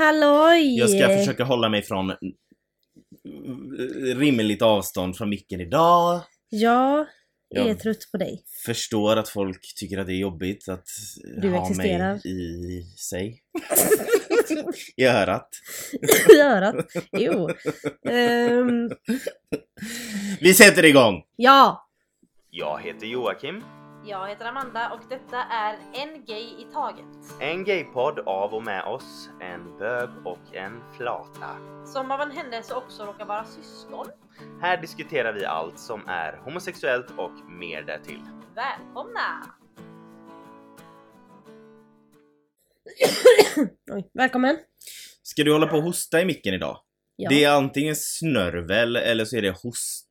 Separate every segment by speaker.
Speaker 1: Halloj!
Speaker 2: Jag ska försöka hålla mig från rimligt avstånd från micken idag.
Speaker 1: Jag är
Speaker 2: Jag
Speaker 1: trött på dig.
Speaker 2: förstår att folk tycker att det är jobbigt att
Speaker 1: Du
Speaker 2: ha
Speaker 1: existerar.
Speaker 2: mig i sig. I örat.
Speaker 1: I örat. Jo. Ehm,
Speaker 2: Vi sätter igång!
Speaker 1: ja!
Speaker 2: Jag heter Joakim.
Speaker 1: Jag heter Amanda och detta är En Gay i Taget.
Speaker 2: En gaypodd av och med oss, en bög och en flata.
Speaker 1: Som av en händelse också råkar vara syskon.
Speaker 2: Här diskuterar vi allt som är homosexuellt och mer därtill.
Speaker 1: Välkomna! Oj, välkommen!
Speaker 2: Ska du hålla på och hosta i micken idag?
Speaker 1: Ja.
Speaker 2: Det är antingen snörvel eller så är det hostigt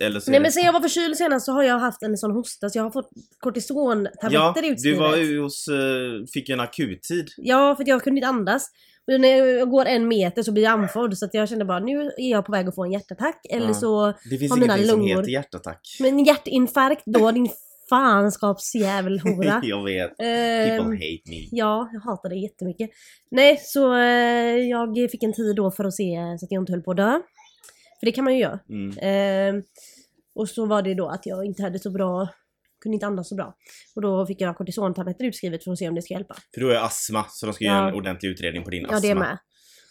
Speaker 2: eller så
Speaker 1: Nej
Speaker 2: är det...
Speaker 1: men sen jag var förkyld senast så har jag haft en sån hosta så jag har fått
Speaker 2: Ja,
Speaker 1: kortisontabletter
Speaker 2: du
Speaker 1: utskrivet.
Speaker 2: var ju hos, eh, fick ju en akuttid.
Speaker 1: Ja, för att jag kunde inte andas. Och när jag går en meter så blir jag andfådd så att jag kände bara nu är jag på väg att få en hjärtattack eller
Speaker 2: Ja.
Speaker 1: så...
Speaker 2: Det finns
Speaker 1: Har mina
Speaker 2: ingenting som
Speaker 1: lungor.
Speaker 2: heter hjärtattack.
Speaker 1: Men hjärtinfarkt då din fanskapsjävelhora.
Speaker 2: jag vet. People
Speaker 1: Ehm,
Speaker 2: hate me.
Speaker 1: ja, jag hatar det jättemycket. Nej, så eh, jag fick en tid då för att se så att jag inte höll på att dö. För det kan man ju göra.
Speaker 2: Mm.
Speaker 1: Ehm, och så var det då att jag inte hade så bra, kunde inte andas så bra. Och då fick jag kortisontabletter utskrivet för att se om det ska hjälpa.
Speaker 2: För du har ju astma, så de ska
Speaker 1: Ja.
Speaker 2: göra en ordentlig utredning på din
Speaker 1: Ja, det är
Speaker 2: astma.
Speaker 1: med.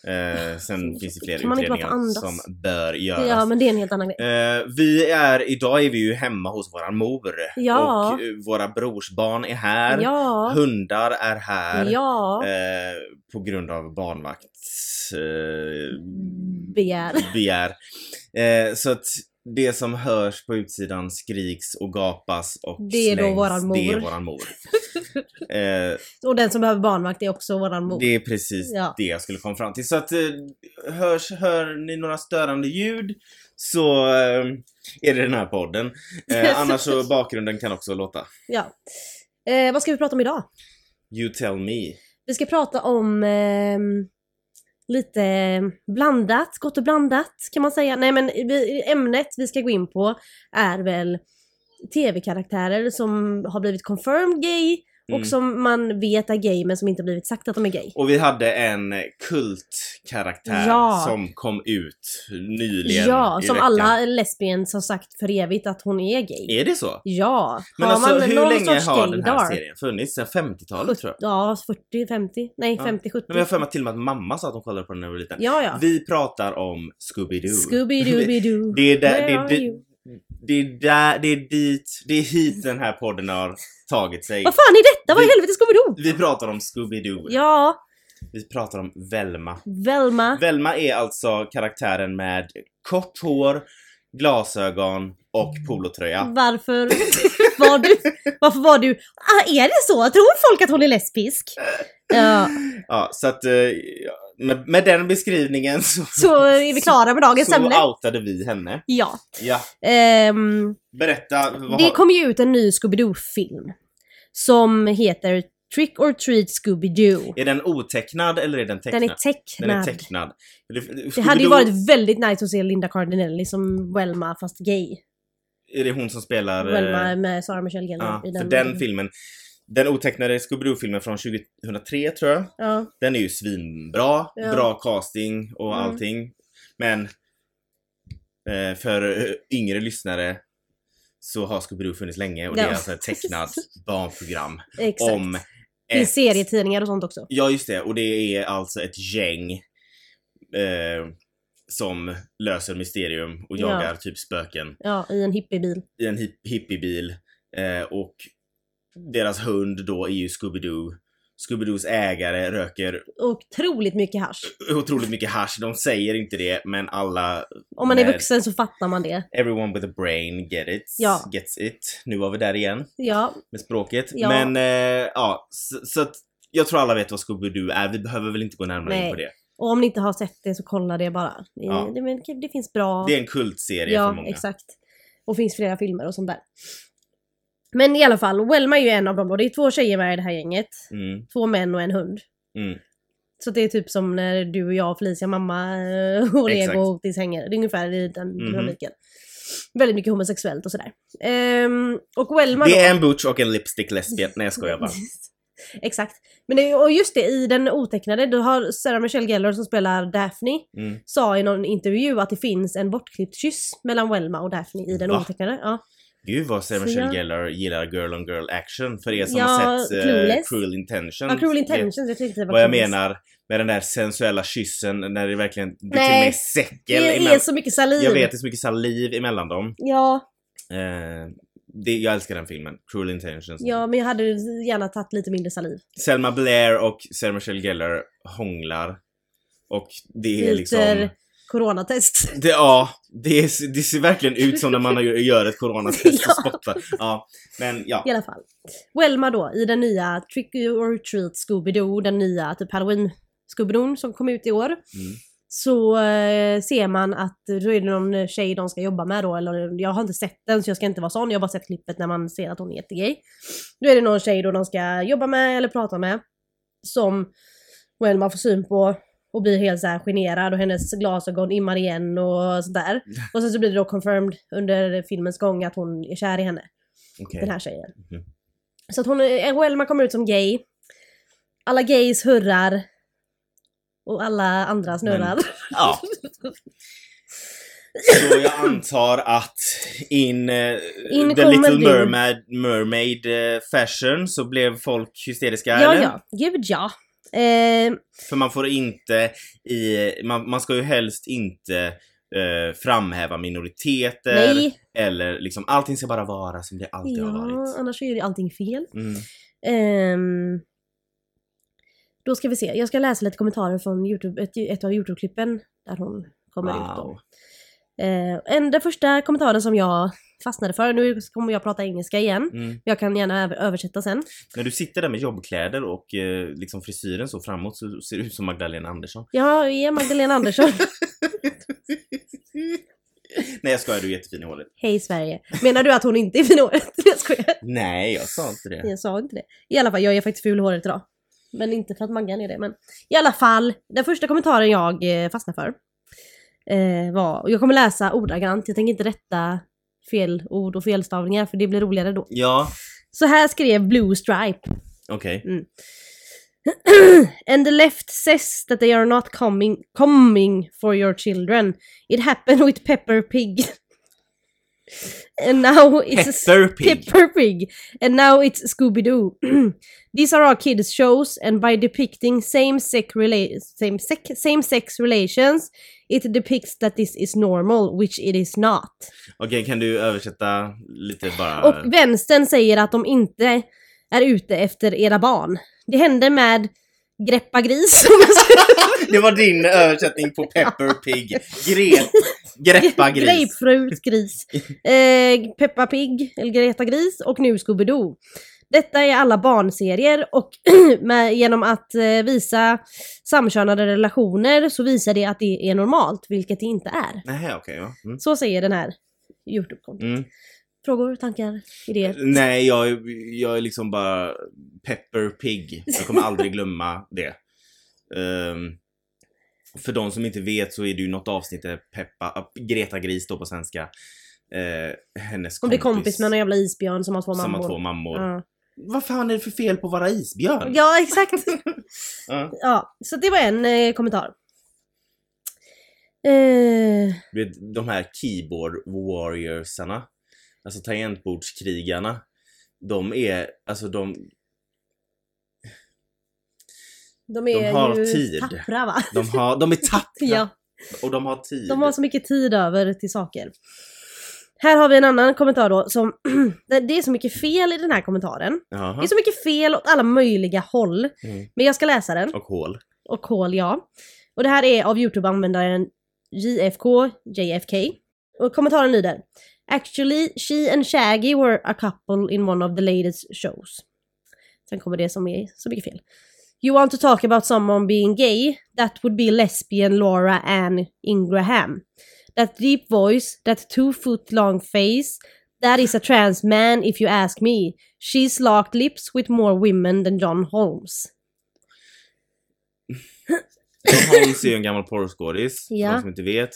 Speaker 2: Eh, sen finns det fler
Speaker 1: Kan man inte bara få
Speaker 2: utredningar
Speaker 1: andas?
Speaker 2: som bör göras.
Speaker 1: Ja, men det är en helt annan grej.
Speaker 2: Eh, vi är, idag är vi ju hemma hos våran mor.
Speaker 1: Ja.
Speaker 2: Och eh, våra brorsbarn är här.
Speaker 1: Ja.
Speaker 2: Hundar är här.
Speaker 1: Ja.
Speaker 2: Eh, på grund av barnvakts eh,
Speaker 1: Begär.
Speaker 2: begär. Eh, så att det som hörs på utsidan skriks och gapas och
Speaker 1: Det är då
Speaker 2: slängs,
Speaker 1: våran
Speaker 2: Det är
Speaker 1: mor.
Speaker 2: våran mor. eh,
Speaker 1: Och den som behöver barnvakt är också våran mor.
Speaker 2: det är precis
Speaker 1: Ja.
Speaker 2: det jag skulle komma fram till. Så att eh, hörs, hör ni några störande ljud så eh, är det den här podden. Eh, annars så bakgrunden kan också låta.
Speaker 1: Ja. Eh, vad ska vi prata om idag?
Speaker 2: You tell me. Mm.
Speaker 1: Vi ska prata om ehm, lite blandat, gott och blandat kan man säga. Nej men vi, ämnet vi ska gå in på är väl tv-karaktärer som har blivit confirmed gay
Speaker 2: Mm.
Speaker 1: och som man vet är gay men som inte blivit sagt att de är gay.
Speaker 2: Och vi hade en kultkaraktär
Speaker 1: Ja.
Speaker 2: som kom ut nyligen
Speaker 1: ja,
Speaker 2: i
Speaker 1: som
Speaker 2: veckan.
Speaker 1: alla lesbians har sagt för evigt att hon är gay.
Speaker 2: Är det så?
Speaker 1: Ja,
Speaker 2: Men
Speaker 1: har
Speaker 2: alltså
Speaker 1: man
Speaker 2: hur
Speaker 1: någon
Speaker 2: länge
Speaker 1: sorts
Speaker 2: har
Speaker 1: gay
Speaker 2: den här
Speaker 1: dark?
Speaker 2: serien funnits? Sen 50-talet tror jag.
Speaker 1: Ja, 40, 50, nej
Speaker 2: Ja.
Speaker 1: 50, 70.
Speaker 2: Nej, men jag har för mig till och med att mamma sa att hon kollade på den när hon var liten.
Speaker 1: Ja, ja.
Speaker 2: Vi pratar om Scooby-Doo.
Speaker 1: Scooby-Dooby-Doo.
Speaker 2: det är där,
Speaker 1: Where
Speaker 2: det, är
Speaker 1: are
Speaker 2: di-
Speaker 1: you?
Speaker 2: det är där, det är dit, det är hit den här podden har tagit sig.
Speaker 1: Vad fan är detta? Vad i
Speaker 2: Vi-
Speaker 1: helvete är Scooby-Doo?
Speaker 2: Vi pratar om Scooby-Doo.
Speaker 1: Ja,
Speaker 2: Vi pratar om Velma.
Speaker 1: Velma.
Speaker 2: Velma är alltså karaktären med kort hår, glasögon och
Speaker 1: Mm.
Speaker 2: polotröja.
Speaker 1: Varför var du... Varför var du... Ah, är det så? Tror folk att hon är lesbisk? Ja,
Speaker 2: Ja, så att eh, ja, med, med den beskrivningen så,
Speaker 1: så är vi klara med dagens ämne.
Speaker 2: så outade vi henne.
Speaker 1: Ja.
Speaker 2: Ja,
Speaker 1: Ehm,
Speaker 2: berätta. Vad
Speaker 1: det
Speaker 2: har-
Speaker 1: kom ju ut en ny Scooby-Doo-film. Som heter Trick or Treat Scooby-Doo.
Speaker 2: Är den otecknad eller är den tecknad?
Speaker 1: Den är tecknad.
Speaker 2: Den är tecknad. Det,
Speaker 1: Det hade ju varit väldigt nice att se Linda Cardinelli som Velma fast gay.
Speaker 2: Är det hon som spelar... eh,
Speaker 1: Velma med Sarah Michelle Gellar
Speaker 2: ja,
Speaker 1: i den.
Speaker 2: för den filmen. Den otecknade Scooby-Doo-filmen från 2003 tror jag.
Speaker 1: Ja.
Speaker 2: Den är ju svinbra.
Speaker 1: Ja.
Speaker 2: Bra casting och
Speaker 1: Mm.
Speaker 2: allting. Men eh, för eh, yngre lyssnare så har Scooby-Doo funnits länge och det
Speaker 1: Ja.
Speaker 2: är alltså ett tecknat barnprogram
Speaker 1: Exakt.
Speaker 2: om
Speaker 1: Det
Speaker 2: ett-
Speaker 1: finns serietidningar och sånt också.
Speaker 2: Ja, just det. Och det är alltså ett gäng eh, som löser mysterium och
Speaker 1: Ja.
Speaker 2: jagar typ spöken
Speaker 1: Ja, i en hippiebil.
Speaker 2: i en hip- hippiebil. Eh, och deras hund då är ju Scooby-Doo. Scooby-Doos ägare röker
Speaker 1: Otroligt mycket hasch.
Speaker 2: otroligt mycket hasch. De säger inte det, men alla...
Speaker 1: Om man är
Speaker 2: Nej.
Speaker 1: vuxen så fattar man det.
Speaker 2: Everyone with a brain get it,
Speaker 1: Ja.
Speaker 2: gets it. Nu var vi där igen
Speaker 1: Ja,
Speaker 2: med språket.
Speaker 1: Ja.
Speaker 2: Men eh, ja, så, så att jag tror alla vet vad Scooby-Doo är. Vi behöver väl inte gå närmare in
Speaker 1: Nej.
Speaker 2: på det.
Speaker 1: och om ni inte har sett det så kolla det bara. Det,
Speaker 2: Ja.
Speaker 1: det, men det finns bra...
Speaker 2: Det är en kultserie för
Speaker 1: ja,
Speaker 2: många.
Speaker 1: exakt. Och finns flera filmer och sånt där. Men i alla fall, Welma är ju en av dem då. Det är två tjejer med i det här gänget.
Speaker 2: Mm,
Speaker 1: Två män och en hund.
Speaker 2: mm.
Speaker 1: Så det är typ som när du och jag, Felicia, mamma eh, och
Speaker 2: Exakt.
Speaker 1: Rego och Otis hänger. Det är ungefär i den
Speaker 2: Mhm.
Speaker 1: dynamiken. Väldigt mycket homosexuellt och sådär. Ehm, och Welma
Speaker 2: Det
Speaker 1: då...
Speaker 2: är en butch och en lipstick lesbian. Nej jag skojar bara.
Speaker 1: Exakt. Men det, och just det, i den otecknade, då har Sarah Michelle Gellar som spelar Daphne
Speaker 2: Mm.
Speaker 1: sa i någon intervju att det finns en bortklippt kyss mellan Welma och Daphne i den
Speaker 2: Va?
Speaker 1: otecknade. Ja.
Speaker 2: Gud vad Sarah
Speaker 1: Så
Speaker 2: Michelle
Speaker 1: jag-
Speaker 2: Gellar gillar girl on girl action för er som
Speaker 1: Ja,
Speaker 2: har sett eh,
Speaker 1: Clueless.
Speaker 2: Cruel Intention.
Speaker 1: Ja, Cruel Intentions, jag tyckte det var
Speaker 2: vad jag
Speaker 1: Clueless.
Speaker 2: menar med den där sensuella kyssen när det verkligen blir till
Speaker 1: Nej.
Speaker 2: och med säckel
Speaker 1: Det är
Speaker 2: emellan.
Speaker 1: så mycket saliv.
Speaker 2: Jag vet, det är så mycket saliv emellan dem.
Speaker 1: Ja,
Speaker 2: Eh, det, jag älskar den filmen, Cruel Intentions.
Speaker 1: ja, men jag hade gärna tagit lite mindre saliv.
Speaker 2: Selma Blair och Sarah Michelle Gellar hånglar. Och det är liksom...
Speaker 1: Lite coronatest.
Speaker 2: Det, ja, det, är, det ser verkligen ut som när man gör- gör ett coronatest och spottar. Ja, men ja.
Speaker 1: I alla fall. Welma då, i den nya Trick or Treat Scooby-Doo, den nya typ halloween Scooby-Doon som kom ut i år. Så eh, ser man att då är det någon tjej de ska jobba med då, eller jag har inte sett den så jag ska inte vara sån, jag har bara sett klippet när man ser att hon är jättegay. Då är det någon tjej då de ska jobba med eller prata med som Welma får syn på och blir helt så här generad och hennes glasögon immar igen och sådär. Och sen så blir det då confirmed under filmens gång att hon är kär i henne
Speaker 2: Okej.
Speaker 1: den här tjejen.
Speaker 2: Mhm.
Speaker 1: Så att hon, eh, Welma kommer ut som gay. Alla gays hurrar. Och alla andra snurrar.
Speaker 2: Ja. Så jag antar att in, eh,
Speaker 1: In
Speaker 2: the
Speaker 1: kommer
Speaker 2: little
Speaker 1: du.
Speaker 2: mermaid, mermaid eh, fashion så blev folk hysteriska.
Speaker 1: ja,
Speaker 2: eller?
Speaker 1: ja. Gud ja. Eh,
Speaker 2: För man får inte i, man, man ska ju helst inte eh, framhäva minoriteter.
Speaker 1: nej.
Speaker 2: Eller liksom, allting ska bara vara som det alltid har
Speaker 1: Ja,
Speaker 2: varit.
Speaker 1: annars är ju allting fel.
Speaker 2: Mm.
Speaker 1: Ehm, då ska vi se. Jag ska läsa lite kommentarer från YouTube, ett, ett av Youtube-klippen där hon kommer ut. Då.
Speaker 2: Wow.
Speaker 1: Eh, en, den första kommentaren som jag fastnade för, nu kommer jag prata engelska igen.
Speaker 2: Mm.
Speaker 1: Jag kan gärna över- översätta sen.
Speaker 2: När du sitter där med jobbkläder och eh, liksom frisyren så framåt så ser du ut som Magdalena Andersson.
Speaker 1: Jag är Magdalena Andersson.
Speaker 2: Nej jag skojar, du är jättefin i håret.
Speaker 1: Hej Sverige. Menar du att hon inte är fin i håret? Jag skojar.
Speaker 2: Nej jag sa inte det.
Speaker 1: Jag sa inte det. I alla fall, jag är faktiskt ful i håret idag. Men inte för att Maggan är det. Men i alla fall, den första kommentaren jag eh, fastnade för eh, var, och jag kommer läsa ordagrant, jag tänker inte rätta fel ord och felstavningar för det blir roligare då.
Speaker 2: Ja,
Speaker 1: Så här skrev Blue Stripe.
Speaker 2: okej.
Speaker 1: and the left says that they are not coming coming for your children. It happened with Pepper Pig. and now it's
Speaker 2: Pepper Pig.
Speaker 1: Pepper Pig. And now it's Scooby Doo. These are our kids shows and by depicting same sex rela- same sex same sex relations it depicts that this is normal which it is not.
Speaker 2: Okej, kan du översätta lite bara?
Speaker 1: Och vänstern säger att de inte är ute efter era barn. Det hände med Greppa gris. som jag sa.
Speaker 2: Det var din översättning på Pepper Pig. Gre- greppa gris.
Speaker 1: Grapefruit gris. Eh, Peppa Pig, eller Greta Gris och nu Scooby-Doo. Detta är alla barnserier och med, genom att eh, visa samkönade relationer så visar det att det är normalt, vilket det inte är.
Speaker 2: Nej, okej. ja. mm.
Speaker 1: Så säger den här Youtube-kontot.
Speaker 2: Mm.
Speaker 1: Frågor, tankar, idéer?
Speaker 2: Nej, jag, är- jag är liksom bara Pepper Pig. Jag kommer aldrig glömma det. Ehm, för de som inte vet så är det ju något avsnitt där Peppa, äh, Greta Gris då på svenska, eh, hennes
Speaker 1: Hon blir kompis med någon jävla isbjörn som har två
Speaker 2: som har två
Speaker 1: mammor.
Speaker 2: mammor.
Speaker 1: Ja.
Speaker 2: Vad fan är det för fel på att vara isbjörn?
Speaker 1: ja, exakt.
Speaker 2: Ja.
Speaker 1: Ja, så det var en eh, kommentar. Eh,
Speaker 2: Du vet, de här keyboard warriorsarna, alltså tangentbordskrigarna, de är, alltså de,
Speaker 1: de är
Speaker 2: De har
Speaker 1: ju
Speaker 2: tid.
Speaker 1: tappra va?
Speaker 2: de, har, de är tappra
Speaker 1: Ja,
Speaker 2: och de har tid.
Speaker 1: de har så mycket tid över till saker. Här har vi en annan kommentar då som, det det är så mycket fel i den här kommentaren. Det
Speaker 2: Jaha.
Speaker 1: är så mycket fel åt alla möjliga håll.
Speaker 2: Mm.
Speaker 1: Men jag ska läsa den.
Speaker 2: Och hål.
Speaker 1: och kol ja. Och det här är av Youtube-användaren JFK, JFK. Och kommentaren lyder Actually, she and Shaggy were a couple in one of the latest shows. Sen kommer det som är så mycket fel. You want to talk about someone being gay? That would be lesbian Laura Ann Ingraham. That deep voice, that two foot long face. That is a trans man if you ask me. She's locked lips with more women than John Holmes.
Speaker 2: Hans är ju en gammal porrskådis,
Speaker 1: Ja.
Speaker 2: för de som inte vet.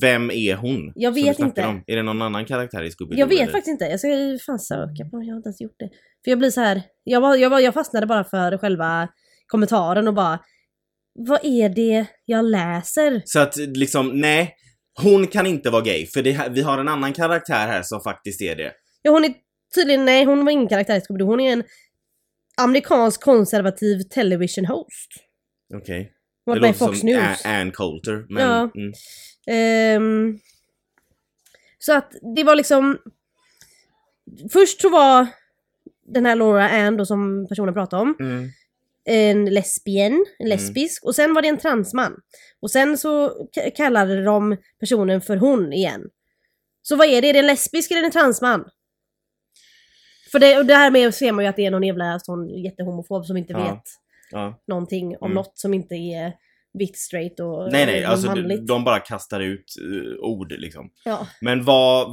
Speaker 2: Vem är hon?
Speaker 1: Jag
Speaker 2: som vi
Speaker 1: vet
Speaker 2: snackar
Speaker 1: inte.
Speaker 2: Om? Är det någon annan karaktär i Scooby-Doo?
Speaker 1: Jag vet
Speaker 2: eller?
Speaker 1: faktiskt inte. Alltså, Jag ska ju fan söka på den. Jag har inte ens gjort det. För jag blir så här. Jag, var, jag, var, jag fastnade bara för själva kommentaren och bara. Vad är det jag läser?
Speaker 2: Så att liksom, nej. Hon kan inte vara gay, för det här, vi har en annan karaktär här som faktiskt är det.
Speaker 1: Ja, hon är tydligen, nej hon var ingen karaktär i Scooby-Doo. Hon är en amerikansk konservativ television host.
Speaker 2: Okej.
Speaker 1: Hon
Speaker 2: Det
Speaker 1: var med i
Speaker 2: låter
Speaker 1: Fox
Speaker 2: som äh,
Speaker 1: News.
Speaker 2: A- Ann Coulter. Men,
Speaker 1: Ja.
Speaker 2: mm.
Speaker 1: Ehm, så att det var liksom... Först så var den här Laura Ann då som personen pratade om
Speaker 2: Mm.
Speaker 1: en lesbien, en lesbisk och sen var det en transman. Och sen så k- kallade de personen för hon igen. Så vad är det? Är det en lesbisk eller en transman? För det, och därmed ser man ju att det är någon jävla sån jättehomofob som inte
Speaker 2: Ja.
Speaker 1: vet
Speaker 2: Ja.
Speaker 1: någonting om
Speaker 2: Mm.
Speaker 1: något som inte är vitt, straight och
Speaker 2: Nej nej,
Speaker 1: och
Speaker 2: alltså de,
Speaker 1: manligt.
Speaker 2: de bara kastar ut eh, ord liksom.
Speaker 1: ja.
Speaker 2: Men vad,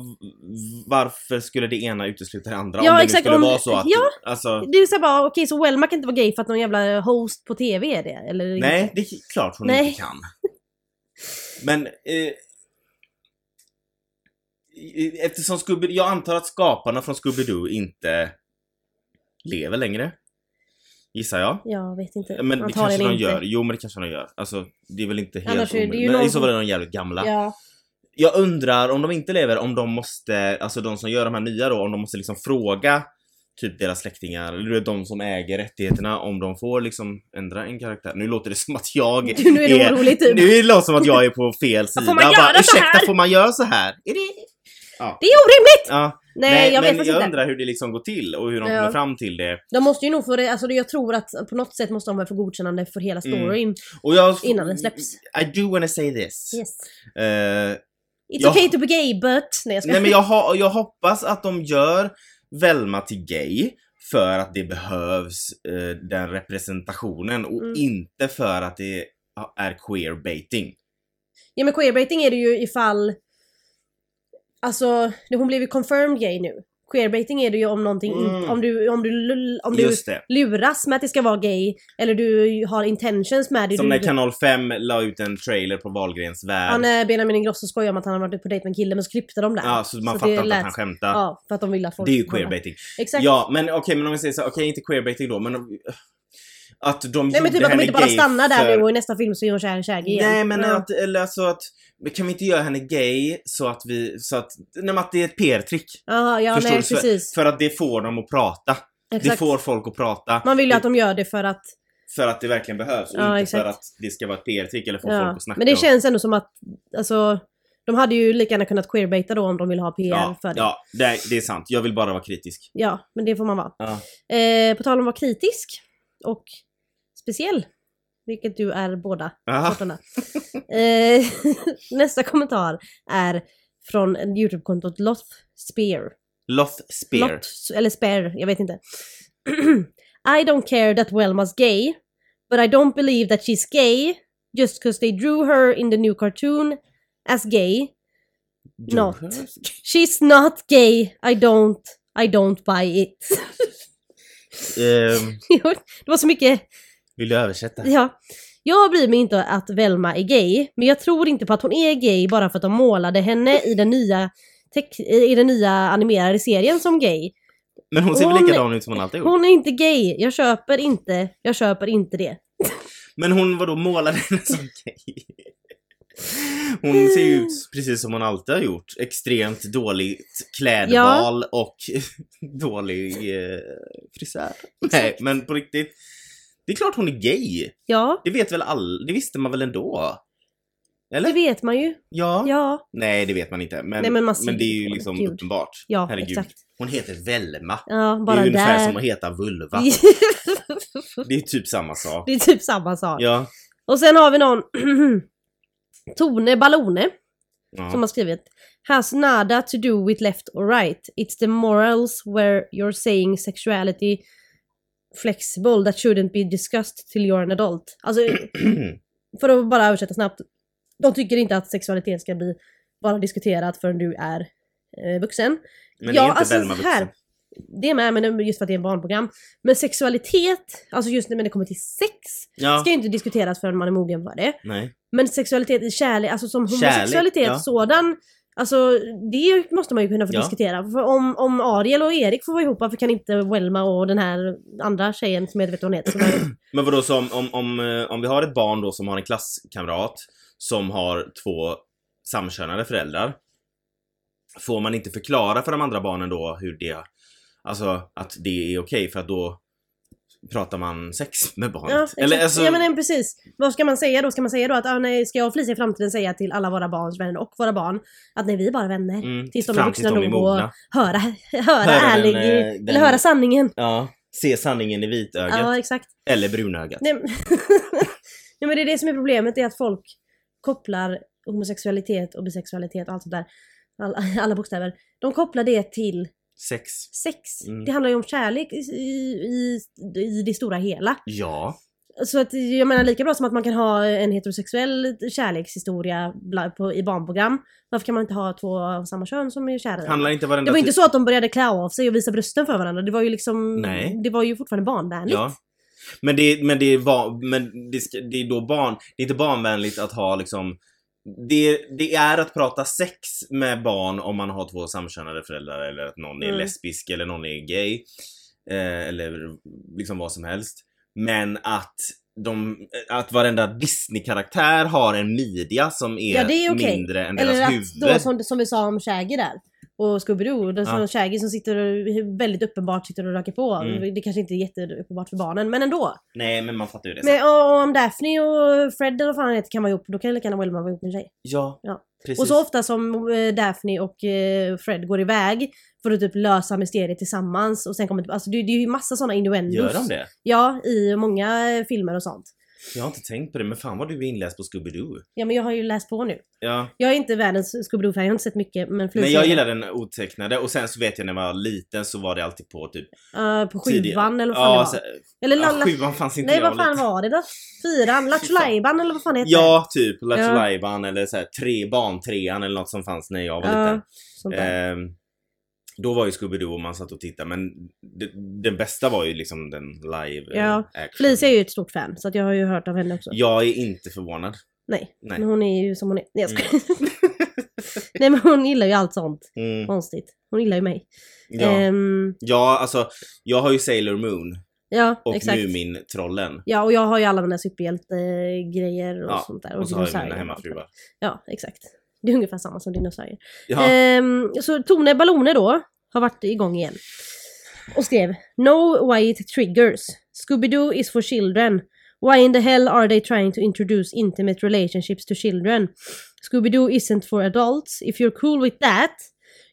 Speaker 2: varför skulle det ena utesluta det andra?
Speaker 1: Ja,
Speaker 2: om det nu
Speaker 1: exakt,
Speaker 2: skulle
Speaker 1: om-
Speaker 2: vara så att,
Speaker 1: ja.
Speaker 2: alltså,
Speaker 1: Det är såhär bara, okej så Welma kan inte vara gay för att någon jävla host på TV är det? Eller
Speaker 2: nej
Speaker 1: inte.
Speaker 2: det är klart hon
Speaker 1: Nej.
Speaker 2: inte kan. Men, eh, eftersom Scooby, jag antar att skaparna från Scooby-Doo inte lever längre. Gissar jag.
Speaker 1: Jag vet inte.
Speaker 2: Men det kanske
Speaker 1: Antagligen
Speaker 2: de
Speaker 1: inte.
Speaker 2: gör. Jo men det kanske de gör. Alltså det är väl inte helt
Speaker 1: Annars är det ju
Speaker 2: omöjligt. Men
Speaker 1: någon
Speaker 2: i så fall är de jävligt gamla.
Speaker 1: Ja.
Speaker 2: Jag undrar om de inte lever, om de måste, alltså de som gör de här nya då, om de måste liksom fråga typ deras släktingar, eller du vet, de som äger rättigheterna, om de får liksom ändra en karaktär. Nu låter det som att jag
Speaker 1: Du, nu är du orolig typ.
Speaker 2: Nu är det låter som att jag är på fel sida.
Speaker 1: man göra så
Speaker 2: Ursäkta,
Speaker 1: här?"
Speaker 2: får man göra så här? Är det...
Speaker 1: Det är orimligt!
Speaker 2: Ja.
Speaker 1: Nej, jag vet
Speaker 2: men
Speaker 1: faktiskt
Speaker 2: jag
Speaker 1: inte.
Speaker 2: undrar hur det liksom går till och hur de
Speaker 1: Ja.
Speaker 2: kommer fram till det.
Speaker 1: De måste ju nog få det, alltså jag tror att på något sätt måste de väl få godkännande för hela
Speaker 2: Mm.
Speaker 1: storyn
Speaker 2: Och jag...
Speaker 1: innan den släpps.
Speaker 2: I do wanna say this.
Speaker 1: Yes.
Speaker 2: Eh,
Speaker 1: It's
Speaker 2: Ja.
Speaker 1: okay to be gay but... Nej jag ska...
Speaker 2: Nej men jag, ha, jag hoppas att de gör Velma till gay för att det behövs eh, den representationen och
Speaker 1: Mm.
Speaker 2: inte för att det är queerbaiting.
Speaker 1: Ja men queerbaiting är det ju ifall... Alltså, det- hon blev ju confirmed gay nu. Queerbaiting är det ju om någonting
Speaker 2: Mm.
Speaker 1: inte, om du, om du, lull- om du
Speaker 2: Just det.
Speaker 1: luras med att det ska vara gay eller du har intentions med det.
Speaker 2: Som
Speaker 1: du,
Speaker 2: när kanal 5 la ut en trailer på Wahlgrens värld.
Speaker 1: han, eh, Benjamin Ingrosso skojar om att han har varit ute på dejt med en kille men så klippte de där.
Speaker 2: ja, så man
Speaker 1: det
Speaker 2: fattar inte
Speaker 1: lät-
Speaker 2: att han skämtar.
Speaker 1: Ja, för att de vill att folk...
Speaker 2: det är ju
Speaker 1: ska kolla.
Speaker 2: queerbaiting.
Speaker 1: Exakt.
Speaker 2: Ja men okej men om vi säger så, här, okej inte queerbaiting då men eh, att de
Speaker 1: Nej men typ
Speaker 2: gjorde
Speaker 1: att de
Speaker 2: henne
Speaker 1: inte bara
Speaker 2: gay
Speaker 1: stannar där
Speaker 2: för-
Speaker 1: nu och i nästa film så är hon kär i en kärge igen.
Speaker 2: Nej men
Speaker 1: Ja.
Speaker 2: att, eller alltså att, kan vi inte göra henne gay så att vi, så att, nej men att det är ett PR-trick.
Speaker 1: Jaha, ja
Speaker 2: Förstår
Speaker 1: nej
Speaker 2: du? Så-
Speaker 1: precis.
Speaker 2: För att det får dem att prata. Det
Speaker 1: Exakt.
Speaker 2: får folk att prata.
Speaker 1: Man vill ju att de gör det för att...
Speaker 2: För att det verkligen behövs och
Speaker 1: Ja,
Speaker 2: inte
Speaker 1: exakt.
Speaker 2: för att det ska vara ett PR-trick eller få folk
Speaker 1: Ja.
Speaker 2: att snacka.
Speaker 1: Men det
Speaker 2: om-
Speaker 1: känns ändå som att, alltså, de hade ju lika gärna kunnat queerbaita då om de vill ha PR
Speaker 2: ja,
Speaker 1: för det. Ja.
Speaker 2: Ja, det är, det är sant. Jag vill bara vara kritisk.
Speaker 1: men det får man vara.
Speaker 2: Ja.
Speaker 1: Eh, på tal om att vara kritisk och speciell, vilket du är båda
Speaker 2: Aha.
Speaker 1: sorterna. eh, nästa kommentar är från Youtube-kontot Loth Spear.
Speaker 2: Loth Spear.
Speaker 1: Lot, eller spare, jag vet inte. I don't care that Welma's gay, but I don't believe that she's gay just 'cause they drew her in the new cartoon as gay.
Speaker 2: Du-
Speaker 1: Not. She's not gay, I don't, I don't buy it.
Speaker 2: Ehm,
Speaker 1: det var så mycket,
Speaker 2: vill du översätta?
Speaker 1: ja. Jag bryr mig inte att Velma är gay, men jag tror inte på att hon är gay bara för att de målade henne i den nya, teck- i den nya animerade serien som gay.
Speaker 2: Men hon ser väl
Speaker 1: Hon-
Speaker 2: likadan ut som hon alltid gjort?
Speaker 1: Hon är inte gay, jag köper inte, jag köper inte det.
Speaker 2: Men hon var då målade henne
Speaker 1: Mm.
Speaker 2: som gay. Hon ser ju ut precis som hon alltid har gjort. Extremt dåligt klädval och dålig eh, frisör. Nej, men på riktigt. Det är klart hon är gay.
Speaker 1: Ja,
Speaker 2: Det vet väl all... Det visste man väl ändå? Eller?
Speaker 1: det vet man ju.
Speaker 2: Ja.
Speaker 1: Ja,
Speaker 2: Nej, det vet man inte. Men,
Speaker 1: Nej, men man ser
Speaker 2: det är ju
Speaker 1: ju-
Speaker 2: liksom
Speaker 1: Gud.
Speaker 2: uppenbart.
Speaker 1: ja
Speaker 2: Herregud.
Speaker 1: exakt.
Speaker 2: Hon heter Velma.
Speaker 1: Ja,
Speaker 2: det
Speaker 1: bara
Speaker 2: är ju ungefär
Speaker 1: där.
Speaker 2: som att heta vulva. Det är typ samma sak.
Speaker 1: det är typ samma sak.
Speaker 2: Ja.
Speaker 1: Och sen har vi någon Tone Ballone
Speaker 2: ja.
Speaker 1: som har skrivit Has nada to do with left or right. It's the morals where you're saying sexuality flexible that shouldn't be discussed till you're an adult. Alltså, för att bara översätta snabbt. De tycker inte att sexualitet ska bli bara diskuterat förrän du är eh, vuxen.
Speaker 2: Men
Speaker 1: ja,
Speaker 2: är inte
Speaker 1: alltså
Speaker 2: Velma
Speaker 1: så här.
Speaker 2: vuxen?
Speaker 1: det med, men just för att det är ett barnprogram. Men sexualitet, alltså just när det kommer till sex,
Speaker 2: Ja,
Speaker 1: ska ju inte diskuteras förrän man är mogen för det.
Speaker 2: nej.
Speaker 1: Men sexualitet i kärlek, alltså som
Speaker 2: Kärlek,
Speaker 1: homosexualitet
Speaker 2: ja.
Speaker 1: sådan, alltså det måste man ju kunna få
Speaker 2: Ja.
Speaker 1: diskutera. För om, om Ariel och Erik får vara ihop, varför kan inte Welma och den här andra tjejen som jag inte vet vad hon heter, som är-
Speaker 2: Men vadå, så om, om, om, eh, om vi har ett barn då som har en klasskamrat som har två samkönade föräldrar. Får man inte förklara för de andra barnen då hur det, alltså att det är okej för att då pratar man sex med barnet?
Speaker 1: Ja,
Speaker 2: Eller
Speaker 1: exakt.
Speaker 2: alltså,
Speaker 1: ja men nej, precis. Vad ska man säga då? Ska man säga då att ah, nej, ska jag och Felicia i framtiden säga till alla våra barns vänner och våra barn att nej vi är bara vänner.
Speaker 2: mm,
Speaker 1: tills de är
Speaker 2: fram
Speaker 1: vuxna
Speaker 2: tills de är
Speaker 1: nog och-
Speaker 2: mogna.
Speaker 1: Höra, höra,
Speaker 2: Höra den,
Speaker 1: ärlig,
Speaker 2: eh, den-
Speaker 1: eller höra sanningen.
Speaker 2: Ja, se sanningen i vitögat.
Speaker 1: Ja exakt.
Speaker 2: Eller brunögat.
Speaker 1: Nej, men- nej men det är det som är problemet, det är att folk kopplar homosexualitet och bisexualitet och allt sånt där. Alla, alla bokstäver. De kopplar det till
Speaker 2: Sex.
Speaker 1: sex.
Speaker 2: Mm.
Speaker 1: Det handlar ju om kärlek i, i, i det stora hela.
Speaker 2: Ja.
Speaker 1: Så att jag menar lika bra som att man kan ha en heterosexuell kärlekshistoria bla- på, i barnprogram. Varför kan man inte ha två av samma kön som är kära?
Speaker 2: Handlar inte varenda...
Speaker 1: det var inte så att de började klä av sig och visa brösten för varandra. Det var ju liksom...
Speaker 2: Nej.
Speaker 1: Det var ju fortfarande barnvänligt.
Speaker 2: Ja. Men det, men det, var, men det, ska- det är då barn, det är inte barnvänligt att ha liksom det, det är att prata sex med barn om man har två samkönade föräldrar eller att någon är
Speaker 1: Mm.
Speaker 2: lesbisk eller någon är gay. Eh, eller liksom vad som helst. Men att de, att varenda Disney-karaktär har en midja som är,
Speaker 1: Ja, det är okej.
Speaker 2: mindre än
Speaker 1: Eller
Speaker 2: deras
Speaker 1: att då
Speaker 2: huvud.
Speaker 1: som, som vi sa om Shaggy där. Och Scooby-Doo, den
Speaker 2: Ja.
Speaker 1: som Shaggy som sitter och, väldigt uppenbart sitter och röker på.
Speaker 2: Mm.
Speaker 1: Det kanske inte är jätteuppenbart för barnen, men ändå.
Speaker 2: Nej men man fattar ju det. sen.
Speaker 1: Men, och, och om Daphne och Fred eller vad fan han heter kan vara ihop, då kan lika gärna Wilma vara ihop med en tjej.
Speaker 2: Ja,
Speaker 1: Ja.
Speaker 2: precis.
Speaker 1: Och så ofta som eh, Daphne och eh, Fred går iväg för att typ lösa mysteriet tillsammans och sen kommer alltså det, det är ju massa sådana innuendos.
Speaker 2: Gör de det?
Speaker 1: Ja, i många eh, filmer och sånt.
Speaker 2: Jag har inte tänkt på det, men fan vad du är inläst på Scooby-Doo.
Speaker 1: Ja men jag har ju läst på nu.
Speaker 2: Ja.
Speaker 1: Jag är inte världens Scooby-Doo-fan, jag har inte sett mycket men
Speaker 2: Men
Speaker 1: Felicia-
Speaker 2: jag gillar den otecknade och sen så vet jag när jag var liten så var det alltid på typ
Speaker 1: Eh, på
Speaker 2: tidigare.
Speaker 1: sjuan eller vad fan det
Speaker 2: ja,
Speaker 1: var.
Speaker 2: så,
Speaker 1: Eller
Speaker 2: ja,
Speaker 1: Lalla...
Speaker 2: sjuan fanns inte
Speaker 1: Nej
Speaker 2: jag
Speaker 1: vad fan
Speaker 2: liten.
Speaker 1: var det då? Fyran? Lattjo Lajban eller vad fan heter det?
Speaker 2: Ja, typ Lattjo
Speaker 1: Ja.
Speaker 2: Lajban eller så här, tre, Barntrean eller något som fanns när jag var
Speaker 1: Ja,
Speaker 2: liten.
Speaker 1: sånt där.
Speaker 2: Ehm, då var ju Scooby-Doo och man satt och tittade men det- den bästa var ju liksom den live eh,
Speaker 1: Ja.
Speaker 2: action.
Speaker 1: Felicia är ju ett stort fan så att jag har ju hört av henne också.
Speaker 2: Jag är inte förvånad.
Speaker 1: Nej.
Speaker 2: Nej.
Speaker 1: Men hon är ju som hon är. Nej jag skojar. Nej men hon gillar ju allt sånt.
Speaker 2: Mm,
Speaker 1: Konstigt. Hon gillar ju mig.
Speaker 2: ja.
Speaker 1: Ehm,
Speaker 2: ja, alltså jag har ju Sailor Moon
Speaker 1: ja
Speaker 2: och
Speaker 1: exakt.
Speaker 2: Mumin-trollen.
Speaker 1: Ja och jag har ju alla mina superhjältegrejer och
Speaker 2: Ja,
Speaker 1: sånt där.
Speaker 2: Och så har jag mina
Speaker 1: dinosaurier och allt det
Speaker 2: hemmafruar.
Speaker 1: där. Ja exakt. Det är ungefär samma som dinosaurier.
Speaker 2: Ja.
Speaker 1: Ehm, så Tone Ballone då har varit igång igen. Och skrev No white triggers. Scooby-Doo is for children. Why in the hell are they trying to introduce intimate relationships to children? Scooby-Doo isn't for adults. If you're cool with that,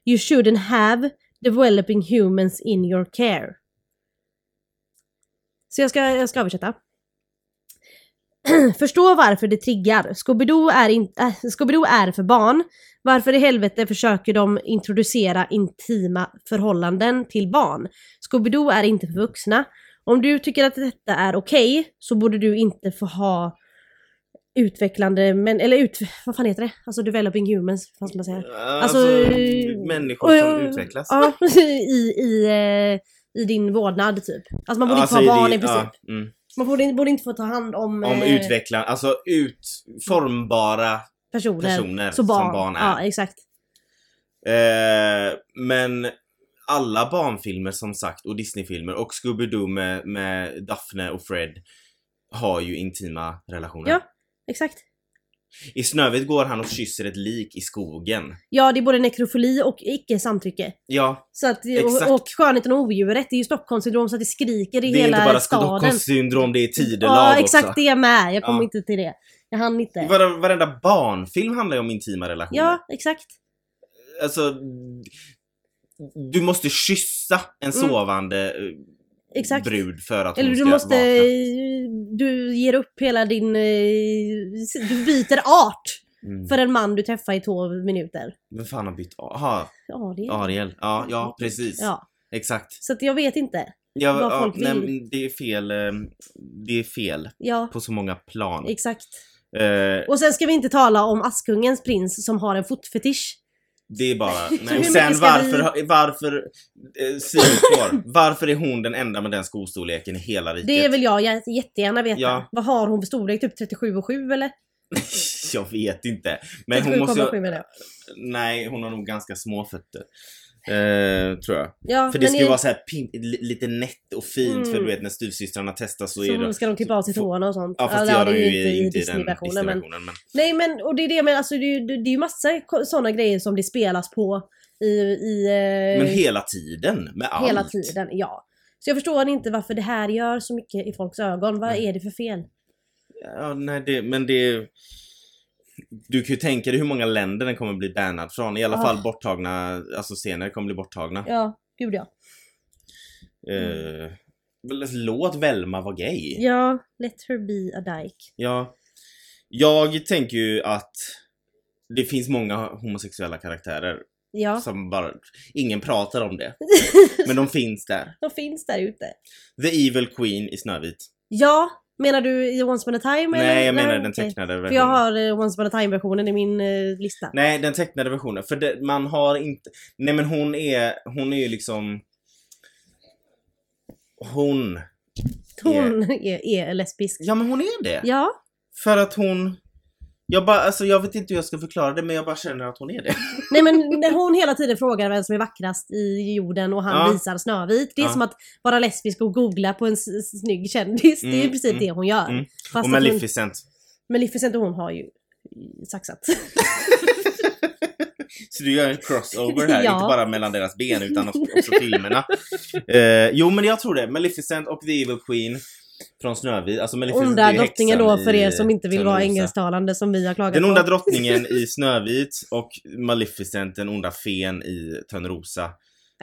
Speaker 1: you shouldn't have developing humans in your care. Så jag ska, jag ska översätta. Förstå varför det triggar. Scooby-Doo är, in, äh, Scooby-Doo är för barn. Varför i helvete försöker de introducera intima förhållanden till barn? Scooby-Doo är inte för vuxna. Om du tycker att detta är okej så borde du inte få ha utvecklande, men, eller ut, vad fan heter det? Alltså developing humans, vad ska man säga?
Speaker 2: Alltså, människor
Speaker 1: eh,
Speaker 2: som
Speaker 1: eh,
Speaker 2: utvecklas.
Speaker 1: Ja, i, i, eh, i din vårdnad typ. Alltså man borde
Speaker 2: Alltså,
Speaker 1: inte ha barn
Speaker 2: det-
Speaker 1: i princip.
Speaker 2: ja, mm.
Speaker 1: Man borde, borde inte få ta hand om,
Speaker 2: Om
Speaker 1: eh,
Speaker 2: utveckla, alltså utformbara
Speaker 1: personer,
Speaker 2: personer
Speaker 1: så barn.
Speaker 2: som barn
Speaker 1: Ja,
Speaker 2: är.
Speaker 1: exakt.
Speaker 2: Eh, men alla barnfilmer som sagt och Disneyfilmer och Scooby-Doo med, med Daphne och Fred har ju intima relationer.
Speaker 1: Ja. Exakt.
Speaker 2: I Snövit går han och kysser ett lik i skogen.
Speaker 1: Ja, det är både nekrofili och icke samtycke.
Speaker 2: Ja,
Speaker 1: Så att,
Speaker 2: Exakt.
Speaker 1: och, och skönheten och odjuret, det är ju Stockholmssyndrom så att det skriker i
Speaker 2: det är
Speaker 1: hela
Speaker 2: inte bara
Speaker 1: staden.
Speaker 2: Stockholmssyndrom, det är tidelag
Speaker 1: Ja,
Speaker 2: också.
Speaker 1: exakt det är med. Jag kommer
Speaker 2: Ja.
Speaker 1: inte till det. Jag hann inte.
Speaker 2: Vare- Varenda barnfilm handlar ju om intima relationer.
Speaker 1: Ja, exakt.
Speaker 2: alltså du måste kyssa en
Speaker 1: Mm.
Speaker 2: sovande eh,
Speaker 1: Exakt.
Speaker 2: brud för att
Speaker 1: Eller
Speaker 2: hon
Speaker 1: du
Speaker 2: ska
Speaker 1: måste... eh,
Speaker 2: vakna.
Speaker 1: Du ger upp hela din... eh, Du byter art
Speaker 2: Mm.
Speaker 1: för en man du träffar i två minuter.
Speaker 2: Vem fan har bytt Aha,
Speaker 1: Ja, det är...
Speaker 2: Ariel. Ja, ja precis.
Speaker 1: Ja.
Speaker 2: Exakt.
Speaker 1: Så att jag vet inte.
Speaker 2: Ja,
Speaker 1: Vad
Speaker 2: ja,
Speaker 1: folk vill.
Speaker 2: nej, men det är fel. eh, Det är fel
Speaker 1: Ja,
Speaker 2: på så många plan.
Speaker 1: exakt.
Speaker 2: Eh,
Speaker 1: Och sen ska vi inte tala om Askungens prins som har en fotfetisch.
Speaker 2: Det är bara...
Speaker 1: hur
Speaker 2: Nej. Och
Speaker 1: mycket
Speaker 2: sen
Speaker 1: ska
Speaker 2: varför,
Speaker 1: vi-
Speaker 2: har- varför, eh, sidospår. varför är hon den enda med den skostorleken i hela riket?
Speaker 1: Det vill jag jä- jättegärna veta.
Speaker 2: Ja.
Speaker 1: Vad har hon för storlek? Typ 37 och 7 eller?
Speaker 2: Jag vet inte. Men hon
Speaker 1: 37,7
Speaker 2: måste ju...
Speaker 1: menar jag.
Speaker 2: Nej, hon har nog ganska små fötter. Eh, tror jag.
Speaker 1: Ja,
Speaker 2: För det
Speaker 1: men
Speaker 2: ska
Speaker 1: är-
Speaker 2: ju vara så här pin- li- lite nätt och fint för
Speaker 1: Mm.
Speaker 2: du vet när styvsystrarna testas så, är
Speaker 1: så
Speaker 2: det...
Speaker 1: ska de klippa av sig
Speaker 2: Få-
Speaker 1: tårna och sånt.
Speaker 2: Ja fast det gör de ju inte, inte i den
Speaker 1: Disney-versionen, men-
Speaker 2: Disney-versionen. Men...
Speaker 1: Nej men och det är det men alltså det är ju, det är ju massa ko- såna grejer som det spelas på i, i eh,
Speaker 2: men hela tiden med allt.
Speaker 1: hela tiden. Ja. Så jag förstår inte varför det här gör så mycket i folks ögon. Vad
Speaker 2: Nej.
Speaker 1: är det för fel?
Speaker 2: Ja, nej, det, men det... Du kan ju tänka dig hur många länder den kommer bli bannad från. I alla
Speaker 1: Ah.
Speaker 2: fall borttagna, alltså scener kommer bli borttagna.
Speaker 1: Ja, gud ja. Mm.
Speaker 2: Eh, väl, låt Velma vara gay.
Speaker 1: Ja, let her be a dyke.
Speaker 2: Ja. Jag tänker ju att det finns många homosexuella karaktärer
Speaker 1: Ja,
Speaker 2: som bara, ingen pratar om det. Men de finns där.
Speaker 1: de finns där ute.
Speaker 2: The Evil Queen i Snövit.
Speaker 1: Ja, menar du i Once upon a time? eller?
Speaker 2: Nej, jag menar den
Speaker 1: okej.
Speaker 2: tecknade
Speaker 1: För jag
Speaker 2: versionen.
Speaker 1: har eh, Once upon a time versionen i min eh, lista.
Speaker 2: Nej, den tecknade versionen. För det, man har inte... Nej men hon är, hon är ju liksom... Hon.
Speaker 1: Hon är, är lesbisk.
Speaker 2: Ja men hon är det.
Speaker 1: Ja,
Speaker 2: För att hon... Jag bara, alltså jag vet inte hur jag ska förklara det men jag bara känner att hon är det.
Speaker 1: nej men när hon hela tiden frågar vem som är vackrast i jorden och han
Speaker 2: Ja.
Speaker 1: visar Snövit. Det är
Speaker 2: Ja.
Speaker 1: som att vara lesbisk och googla på en s- s- snygg kändis. det är i
Speaker 2: Mm,
Speaker 1: princip
Speaker 2: mm,
Speaker 1: det hon gör.
Speaker 2: mm.
Speaker 1: Fast
Speaker 2: och
Speaker 1: att
Speaker 2: Maleficent.
Speaker 1: hon, Maleficent och hon har ju saxat.
Speaker 2: Så du gör en crossover här,
Speaker 1: Ja.
Speaker 2: inte bara mellan deras ben utan också också filmerna. Eh, jo men jag tror det. Maleficent och The Evil Queen från Snövit. Alltså Maleficent är
Speaker 1: Onda
Speaker 2: ju
Speaker 1: drottningen
Speaker 2: häxan
Speaker 1: då för
Speaker 2: i
Speaker 1: er som inte vill vara
Speaker 2: Törnrosa.
Speaker 1: engelsktalande som vi har klagat
Speaker 2: Den onda
Speaker 1: på.
Speaker 2: drottningen i Snövit och Maleficent, den onda fen i Törnrosa,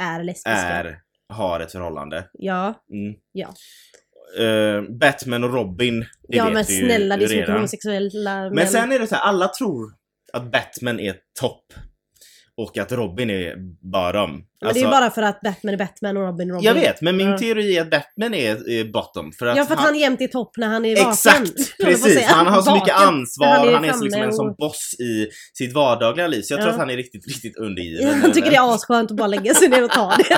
Speaker 1: Är lesbiska.
Speaker 2: är, har ett förhållande.
Speaker 1: Ja.
Speaker 2: Mm.
Speaker 1: Ja.
Speaker 2: Eh, Batman och Robin, det
Speaker 1: Ja
Speaker 2: vet
Speaker 1: men
Speaker 2: vi ju
Speaker 1: snälla det är så mycket
Speaker 2: redan.
Speaker 1: homosexuella män.
Speaker 2: Men sen är det så här, alla tror att Batman är topp. Och att Robin är bottom. Alltså,
Speaker 1: Men det är ju bara för att Batman är Batman och Robin är Robin.
Speaker 2: Jag vet, men min
Speaker 1: Ja.
Speaker 2: teori är att Batman är, är bottom. För att
Speaker 1: Ja för att han, jämt är topp när han är vaken.
Speaker 2: Exakt!
Speaker 1: Jag höll på att
Speaker 2: Precis,
Speaker 1: säga.
Speaker 2: han har så mycket
Speaker 1: Vaken.
Speaker 2: ansvar,
Speaker 1: Han är
Speaker 2: han är,
Speaker 1: framme
Speaker 2: så liksom en
Speaker 1: och-
Speaker 2: sån boss i sitt vardagliga liv. Så jag
Speaker 1: Ja.
Speaker 2: tror att han är riktigt, riktigt undergiven.
Speaker 1: Han tycker det är asskönt att bara lägga sig ner och ta det.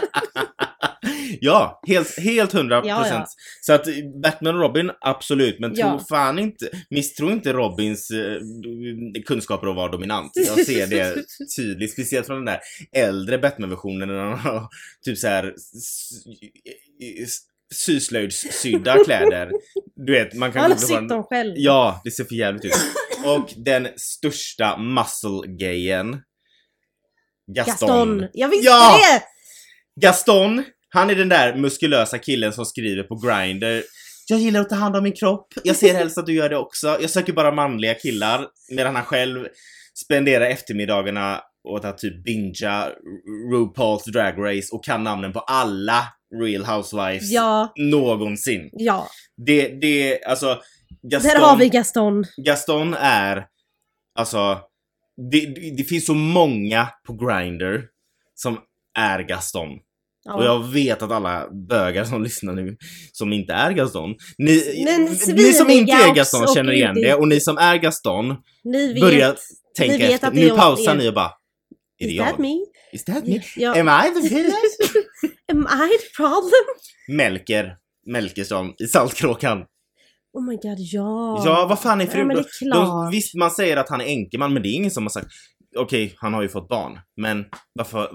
Speaker 2: Ja, helt, helt 100%.
Speaker 1: Ja, ja.
Speaker 2: Så att Batman och Robin, absolut. Men tro
Speaker 1: Ja.
Speaker 2: fan inte, misstro inte Robins eh, kunskaper att vara dominant. Jag ser det tydligt, speciellt från den där äldre Batman-versionen när han har typ så här s- s- syslöjdssydda kläder. Du vet, man kan
Speaker 1: Han har
Speaker 2: googla på
Speaker 1: sytt dem själv.
Speaker 2: Ja, det ser för jävligt ut. Och den största muscle-gayen. Gaston.
Speaker 1: Gaston.
Speaker 2: Gaston.
Speaker 1: Jag visste
Speaker 2: Ja!
Speaker 1: det!
Speaker 2: Han är den där muskulösa killen som skriver på Grindr. Jag gillar att ta hand om min kropp. Jag ser helst att du gör det också. Jag söker bara manliga killar. Medan han själv spenderar eftermiddagarna åt att typ bingea RuPaul's Drag Race och kan namnen på alla Real Housewives
Speaker 1: Ja,
Speaker 2: någonsin.
Speaker 1: ja.
Speaker 2: Det, det, alltså Gaston...
Speaker 1: Där har vi Gaston.
Speaker 2: Gaston är, alltså, det, det, det finns så många på Grindr som är Gaston.
Speaker 1: Ja.
Speaker 2: Och jag vet att alla bögar som lyssnar nu, som inte är Gaston, ni,
Speaker 1: Men
Speaker 2: ni som inte
Speaker 1: sviniga
Speaker 2: är Gaston
Speaker 1: också
Speaker 2: känner igen
Speaker 1: och
Speaker 2: det och ni som är Gaston,
Speaker 1: Ni vet.
Speaker 2: börja
Speaker 1: ni
Speaker 2: tänka
Speaker 1: vet
Speaker 2: efter.
Speaker 1: att det är
Speaker 2: Nu
Speaker 1: åt
Speaker 2: pausar
Speaker 1: er.
Speaker 2: ni och bara, är det
Speaker 1: Is that
Speaker 2: jag?
Speaker 1: me?
Speaker 2: Is that me?
Speaker 1: Ja.
Speaker 2: Am I the villain?
Speaker 1: Am I the problem?
Speaker 2: Melker, Melkersson i Saltkråkan.
Speaker 1: Oh my god, ja.
Speaker 2: Ja, vad fan är
Speaker 1: Ja,
Speaker 2: fru?
Speaker 1: men det är
Speaker 2: De,
Speaker 1: klart.
Speaker 2: visst, man säger att han är enkeman, men det är ingen som har sagt okej, han har ju fått barn, men varför?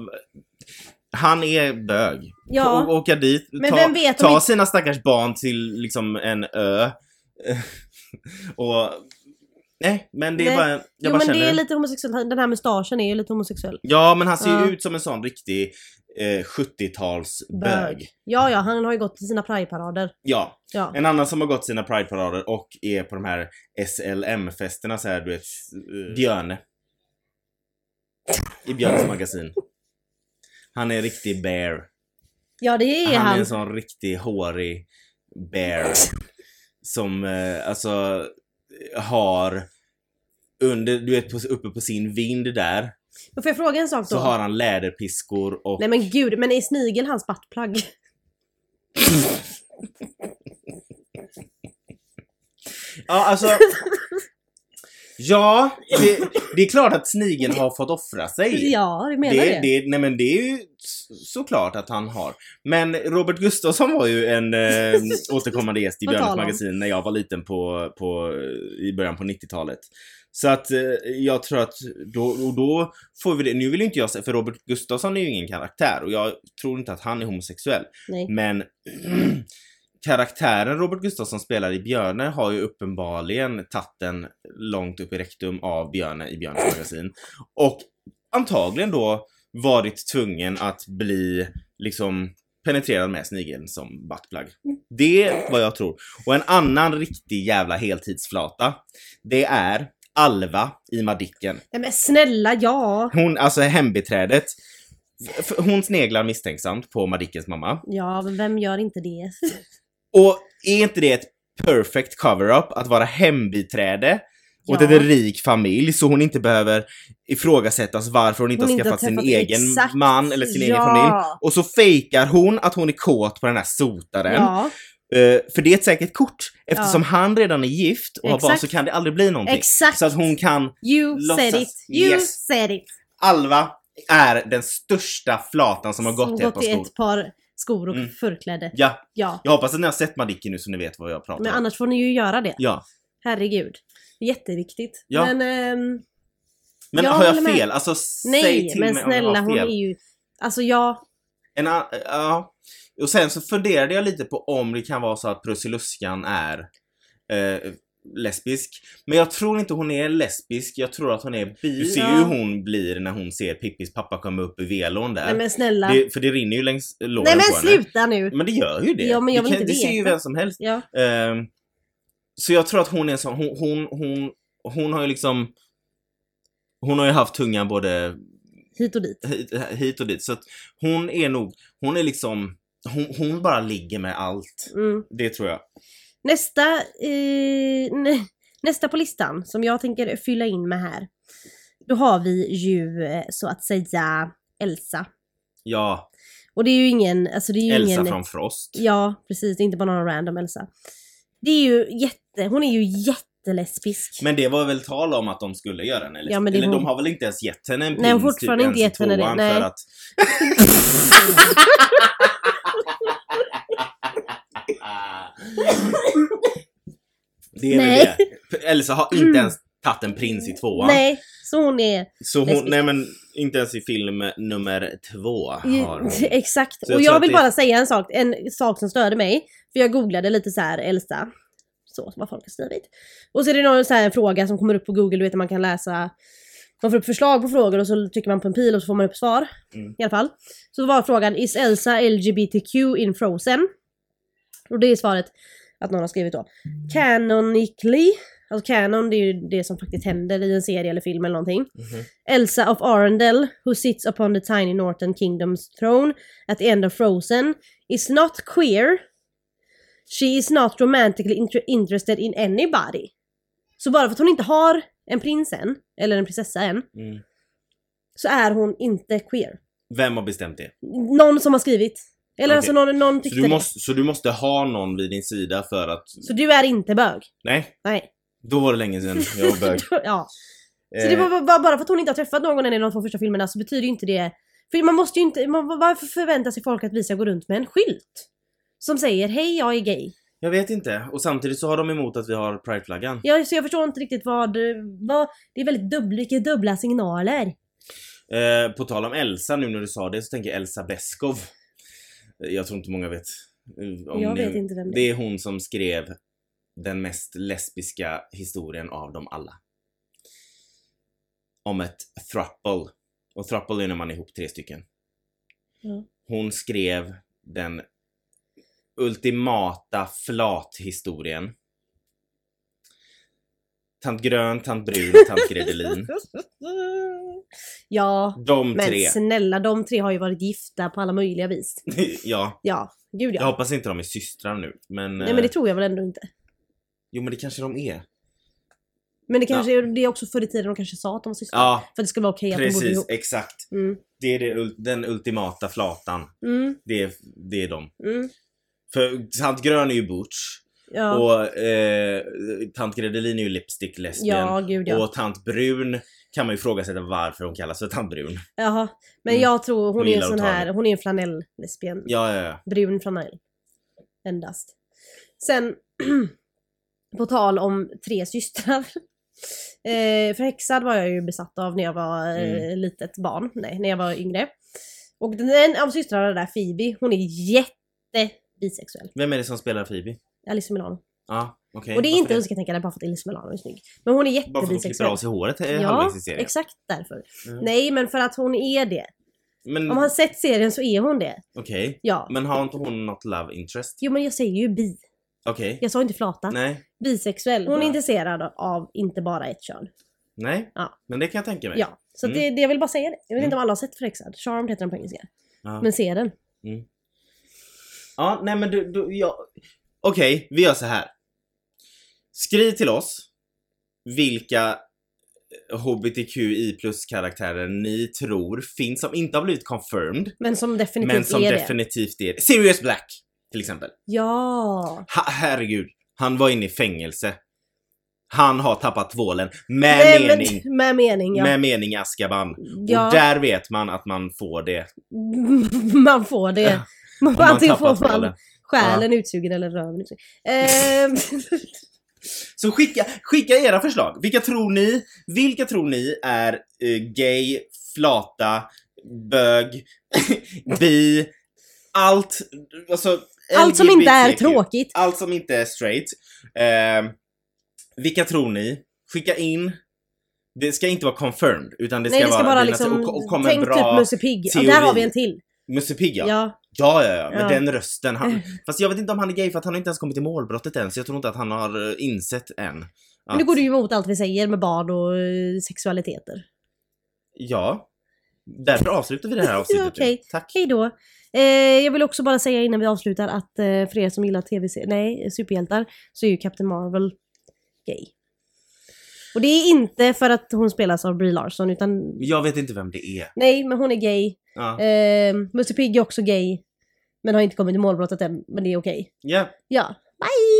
Speaker 2: Han är bög.
Speaker 1: ja.
Speaker 2: Och åka dit,
Speaker 1: Men
Speaker 2: ta,
Speaker 1: vem vet om
Speaker 2: ta
Speaker 1: inte-
Speaker 2: sina stackars barn till liksom en ö. och... Nej, men det är
Speaker 1: Nej.
Speaker 2: bara... Jag
Speaker 1: Jo
Speaker 2: bara
Speaker 1: men
Speaker 2: känner
Speaker 1: det är
Speaker 2: det.
Speaker 1: lite homosexuellt. Den här mustaschen är ju lite homosexuell.
Speaker 2: Ja, men han ser ju
Speaker 1: Ja.
Speaker 2: ut som en sån riktig eh, 70-tals
Speaker 1: Bög.
Speaker 2: bög.
Speaker 1: Ja, ja, han har ju gått till sina prideparader.
Speaker 2: Ja,
Speaker 1: Ja.
Speaker 2: En annan som har gått sina prideparader och är på de här SLM-festerna så här, du vet, eh, Björne. I Björnes magasin. Han är en riktig bear.
Speaker 1: Ja, det är
Speaker 2: han
Speaker 1: han.
Speaker 2: är en sån riktig hårig bear. Som eh, alltså har under, du vet på, uppe på sin vind där
Speaker 1: Men Får jag fråga en sak då?
Speaker 2: så har han läderpiskor och...
Speaker 1: Nej men gud, men är snigel hans buttplug?
Speaker 2: Ja alltså Ja, det, det är klart att snigeln har fått offra sig.
Speaker 1: Ja, du menar
Speaker 2: det,
Speaker 1: det?
Speaker 2: det, nej men det är ju så- såklart att han har. Men Robert Gustafsson var ju en eh, återkommande gäst i
Speaker 1: På tal
Speaker 2: Björnes
Speaker 1: om.
Speaker 2: magasin när jag var liten på, på, i början på 90-talet. Så att eh, jag tror att då, och då får vi det, nu vill ju inte jag säga, för Robert Gustafsson är ju ingen karaktär och jag tror inte att han är homosexuell.
Speaker 1: Nej.
Speaker 2: Men karaktären Robert Gustafsson spelar i Björne har ju uppenbarligen tagit den långt upp i rektum av Björne i Björnes magasin. Och antagligen då varit tvungen att bli liksom penetrerad med snigeln som buttplug. Det är vad jag tror. Och en annan riktig jävla heltidsflata, det är Alva i Madicken.
Speaker 1: Nej, men snälla, ja.
Speaker 2: Hon, alltså hembiträdet, f- f- hon sneglar misstänksamt på Madickens mamma.
Speaker 1: Ja, men vem gör inte det?
Speaker 2: Och är inte det ett perfect cover-up att vara hembiträde åt
Speaker 1: Ja.
Speaker 2: en rik familj så hon inte behöver ifrågasättas varför hon inte
Speaker 1: Hon
Speaker 2: har
Speaker 1: inte har
Speaker 2: skaffat sin
Speaker 1: träffat-
Speaker 2: egen
Speaker 1: exakt.
Speaker 2: man eller sin egen
Speaker 1: Ja.
Speaker 2: familj. Och så fejkar hon att hon är kåt på den här sotaren.
Speaker 1: Ja,
Speaker 2: Eh, för det är ett säkert kort. Eftersom han redan är gift och har barn
Speaker 1: Exakt.
Speaker 2: så kan det aldrig bli någonting.
Speaker 1: exakt.
Speaker 2: Så att hon kan...
Speaker 1: You
Speaker 2: låtsas.
Speaker 1: said it. You
Speaker 2: Yes.
Speaker 1: said it.
Speaker 2: Alva är den största flatan som har gått i ett par
Speaker 1: i
Speaker 2: skor.
Speaker 1: ett par skor och
Speaker 2: Mm.
Speaker 1: förkläde.
Speaker 2: Ja,
Speaker 1: Ja.
Speaker 2: jag hoppas att ni har sett Madicken nu så ni vet vad jag pratar
Speaker 1: Men
Speaker 2: om.
Speaker 1: annars får ni ju göra det.
Speaker 2: Ja.
Speaker 1: Herregud. Jätteviktigt.
Speaker 2: Ja.
Speaker 1: Men, ehm,
Speaker 2: Men
Speaker 1: Jag
Speaker 2: har jag
Speaker 1: håller med.
Speaker 2: fel? Alltså säg
Speaker 1: nej,
Speaker 2: till
Speaker 1: men
Speaker 2: mig om jag
Speaker 1: snälla
Speaker 2: har
Speaker 1: hon
Speaker 2: fel.
Speaker 1: är ju... Alltså ja,
Speaker 2: En, a- ja. Och sen så funderade jag lite på om det kan vara så att Prussiluskan är eh, lesbisk. Men jag tror inte hon är lesbisk, jag tror att hon är bi. Du ser ju
Speaker 1: Ja.
Speaker 2: hur hon blir när hon ser Pippis pappa komma upp i velon där.
Speaker 1: nej men snälla.
Speaker 2: Äh, det, för det rinner ju längs låren
Speaker 1: nej
Speaker 2: på
Speaker 1: men
Speaker 2: henne. Mm.
Speaker 1: sluta nu!
Speaker 2: Men det gör ju det.
Speaker 1: Ja, men jag
Speaker 2: det,
Speaker 1: vill inte
Speaker 2: det ser ju
Speaker 1: veta.
Speaker 2: vem som helst.
Speaker 1: Ja.
Speaker 2: Ehm, så jag tror att hon är en sån, hon, hon, hon, hon har ju liksom hon har ju haft tungan både
Speaker 1: Hit och dit.
Speaker 2: hit, hit och dit. Så att hon är nog, hon är liksom, hon, hon bara ligger med allt.
Speaker 1: Mm.
Speaker 2: Det tror jag.
Speaker 1: Nästa, eh, nä, nästa på listan som jag tänker fylla in med här. Då har vi ju eh, så att säga Elsa.
Speaker 2: Ja,
Speaker 1: Och det är ju ingen, alltså det är ju
Speaker 2: Elsa
Speaker 1: ingen...
Speaker 2: från Frost.
Speaker 1: Ja, precis. Det är inte bara någon random Elsa. Det är ju jätte, hon är ju jättelesbisk.
Speaker 2: Men det var väl tal om att de skulle göra henne liksom.
Speaker 1: Ja, men det är
Speaker 2: Eller de
Speaker 1: hon.
Speaker 2: har väl inte ens gett henne en
Speaker 1: Nej,
Speaker 2: pins, typ
Speaker 1: fortfarande
Speaker 2: ens
Speaker 1: inte
Speaker 2: i
Speaker 1: gett henne det,
Speaker 2: tvåan
Speaker 1: nej.
Speaker 2: För att... det är
Speaker 1: Nej.
Speaker 2: väl det. För Elsa har inte ens tagit en prins i tvåan.
Speaker 1: Nej, så hon är...
Speaker 2: Så hon,
Speaker 1: Lesbisk.
Speaker 2: nej men inte ens i film nummer två har hon.
Speaker 1: Exakt.
Speaker 2: Så jag
Speaker 1: och
Speaker 2: tror
Speaker 1: jag
Speaker 2: att
Speaker 1: vill
Speaker 2: det-
Speaker 1: bara säga en sak, en sak som störde mig. För jag googlade lite så här Elsa. Så vad folk har skrivit. Och så är det någon så här fråga som kommer upp på google, du vet att man kan läsa. Man får upp förslag på frågor och så trycker man på en pil och så får man upp svar.
Speaker 2: Mm.
Speaker 1: I alla fall. Så var frågan, is Elsa LGBTQ in Frozen? Och det är svaret att någon har skrivit då. Canonically. Alltså canon det är ju det som faktiskt händer i en serie eller film eller någonting.
Speaker 2: Mhm.
Speaker 1: Elsa of Arendelle, who sits upon the tiny northern kingdom's throne at the end of Frozen, is not queer. She is not romantically inter- interested in anybody. Så bara för att hon inte har en prins än, eller en prinsessa än,
Speaker 2: Mm.
Speaker 1: så är hon inte queer.
Speaker 2: Vem har bestämt det?
Speaker 1: Någon som har skrivit. Eller
Speaker 2: Okej.
Speaker 1: alltså någon, någon
Speaker 2: Så
Speaker 1: tyckte
Speaker 2: du, måste, så du måste ha någon vid din sida för att...
Speaker 1: det. Så du är inte bög?
Speaker 2: Nej,
Speaker 1: Nej.
Speaker 2: då var det länge sedan jag var bög. Eh.
Speaker 1: ja. Så det var var- var bara för att hon inte har träffat någon än i de två första filmerna så betyder ju inte det... För man måste ju inte... Man, varför förväntar sig folk att vi ska gå runt med en skylt? Som säger hej jag är gay.
Speaker 2: Jag vet inte. Och samtidigt så har de emot att vi har prideflaggan.
Speaker 1: Jag, så jag förstår inte riktigt vad... vad det är väldigt dubbla, vilka dubbla signaler.
Speaker 2: Eh, på tal om Elsa nu när du sa det så tänker jag Elsa Beskow. Eh, Jag tror inte många vet. eh, Om
Speaker 1: jag
Speaker 2: ni-
Speaker 1: vet inte vem det
Speaker 2: Det
Speaker 1: är.
Speaker 2: är hon som skrev den mest lesbiska historien av dem alla. Om ett throuple. Och throuple är när man är ihop tre stycken.
Speaker 1: Ja.
Speaker 2: Hon skrev den ultimata flathistorien. Tant Grön, Tant Brun, Tant Gredelin.
Speaker 1: Ja.
Speaker 2: De
Speaker 1: Men
Speaker 2: tre.
Speaker 1: snälla, de tre har ju varit gifta på alla möjliga vis.
Speaker 2: ja.
Speaker 1: Ja, gud
Speaker 2: Jag
Speaker 1: ja.
Speaker 2: hoppas inte de är systrar nu. Men,
Speaker 1: Nej men det
Speaker 2: eh,
Speaker 1: tror jag väl ändå inte.
Speaker 2: Jo men det kanske de är.
Speaker 1: Men det kanske det är också förr i tiden de kanske sa att de var systrar.
Speaker 2: Ja,
Speaker 1: För att det skulle vara okej att de bodde
Speaker 2: precis.
Speaker 1: ihop.
Speaker 2: Exakt.
Speaker 1: Mm.
Speaker 2: Det är det, ul- den ultimata flatan.
Speaker 1: Mm.
Speaker 2: Det är, det är de.
Speaker 1: Mm.
Speaker 2: För Sant Grön är ju butch.
Speaker 1: Ja,
Speaker 2: Och eh, tant Gredelin är ju lipstick lesbian.
Speaker 1: ja gud ja.
Speaker 2: Och tant Brun kan man ju ifrågasätta varför hon kallas för tant Brun.
Speaker 1: Jaha. Men
Speaker 2: Mm.
Speaker 1: jag tror hon
Speaker 2: Hon
Speaker 1: är en
Speaker 2: gillar
Speaker 1: sån
Speaker 2: att ta
Speaker 1: här,
Speaker 2: det.
Speaker 1: hon är en flanell-lesbien.
Speaker 2: Ja, ja, ja.
Speaker 1: Brun flanell. Endast. Sen, på tal om tre systrar. Eh, förhäxad var jag ju besatt av när jag var eh,
Speaker 2: Mm.
Speaker 1: litet barn. Nej, när jag var yngre. Och den en av systrarna där, Phoebe, hon är jätte bisexuell.
Speaker 2: Vem är det som spelar Phoebe?
Speaker 1: Alice Milano.
Speaker 2: Ja, okej.
Speaker 1: Och det är
Speaker 2: Varför
Speaker 1: inte önsketänkande bara för att Alice Milano är snygg. Men hon är
Speaker 2: Bara för att hon klipper
Speaker 1: jättebisexuell.
Speaker 2: av sig håret eh,
Speaker 1: Ja,
Speaker 2: halvvägs i serien.
Speaker 1: exakt därför.
Speaker 2: Mm.
Speaker 1: Nej, men för att hon är det.
Speaker 2: Men
Speaker 1: Om man har sett serien så är hon det.
Speaker 2: okej.
Speaker 1: Ja.
Speaker 2: Men har inte hon något love interest?
Speaker 1: Jo men jag säger ju bi.
Speaker 2: Okej.
Speaker 1: Jag sa inte flata.
Speaker 2: Nej.
Speaker 1: Bisexuell. Hon är
Speaker 2: Ja.
Speaker 1: intresserad av inte bara ett kön.
Speaker 2: Nej.
Speaker 1: Ja.
Speaker 2: Men det kan jag tänka mig.
Speaker 1: Ja. Så
Speaker 2: Mm.
Speaker 1: det, det, jag vill bara säga det. Jag vet
Speaker 2: Mm.
Speaker 1: inte om alla har sett Förhäxad. Charmed heter den på engelska.
Speaker 2: Ja.
Speaker 1: Men se den.
Speaker 2: Ja, nej men du, du jag... Okej, vi gör så här. Skriv till oss vilka eh, HBTQI plus karaktärer ni tror finns som inte har blivit confirmed
Speaker 1: Men som definitivt
Speaker 2: men som
Speaker 1: är det.
Speaker 2: definitivt är det. Sirius Black till exempel.
Speaker 1: Ja!
Speaker 2: Ha, herregud, han var inne i fängelse. Han har tappat tvålen med
Speaker 1: Nej, men-
Speaker 2: mening.
Speaker 1: Med mening ja.
Speaker 2: Med mening Askaban.
Speaker 1: ja.
Speaker 2: Och där vet man att man får det.
Speaker 1: man får det.
Speaker 2: Ja,
Speaker 1: Man,
Speaker 2: Om man
Speaker 1: antingen
Speaker 2: tappar
Speaker 1: får
Speaker 2: tvålen.
Speaker 1: man själen utsugen eller röven utsugen. Ehm,
Speaker 2: Så skicka, skicka era förslag. Vilka tror ni, vilka tror ni är eh, gay, flata, bög, bi, allt, alltså
Speaker 1: Allt som inte är
Speaker 2: LGBTQ.
Speaker 1: tråkigt.
Speaker 2: Allt som inte är straight. Eh, vilka tror ni? Skicka in. Det ska inte vara confirmed utan det ska,
Speaker 1: Nej det ska
Speaker 2: vara
Speaker 1: bara
Speaker 2: dina-
Speaker 1: liksom,
Speaker 2: och, och komma en
Speaker 1: tänk typ
Speaker 2: bra
Speaker 1: Musse Pigg. Ja, där
Speaker 2: teori.
Speaker 1: har vi en till.
Speaker 2: Musse Pigg ja. ja.
Speaker 1: Ja.
Speaker 2: Ja, ja, ja. Men
Speaker 1: Ja. Eh.
Speaker 2: den rösten. Han, fast jag vet inte om han är gay för att han har inte ens kommit till målbrottet än så jag tror inte att han har eh, insett än.
Speaker 1: Men nu går du ju emot allt vi säger med barn och eh, sexualiteter.
Speaker 2: Ja. Därför avslutar vi det här avsnittet. nu.
Speaker 1: okej.
Speaker 2: Tack.
Speaker 1: Hej då! Eh, jag vill också bara säga innan vi avslutar att eh, för er som gillar tv-serier, nej, superhjältar, så är ju Captain Marvel gay. Och det är inte för att hon spelas av Brie Larson utan
Speaker 2: Jag vet inte vem det är.
Speaker 1: nej, men hon är gay.
Speaker 2: Ja.
Speaker 1: Eh, Musse Pigg är också gay. Men har inte kommit till målbrottet än, men det är okej.
Speaker 2: Ja.
Speaker 1: Ja, bye!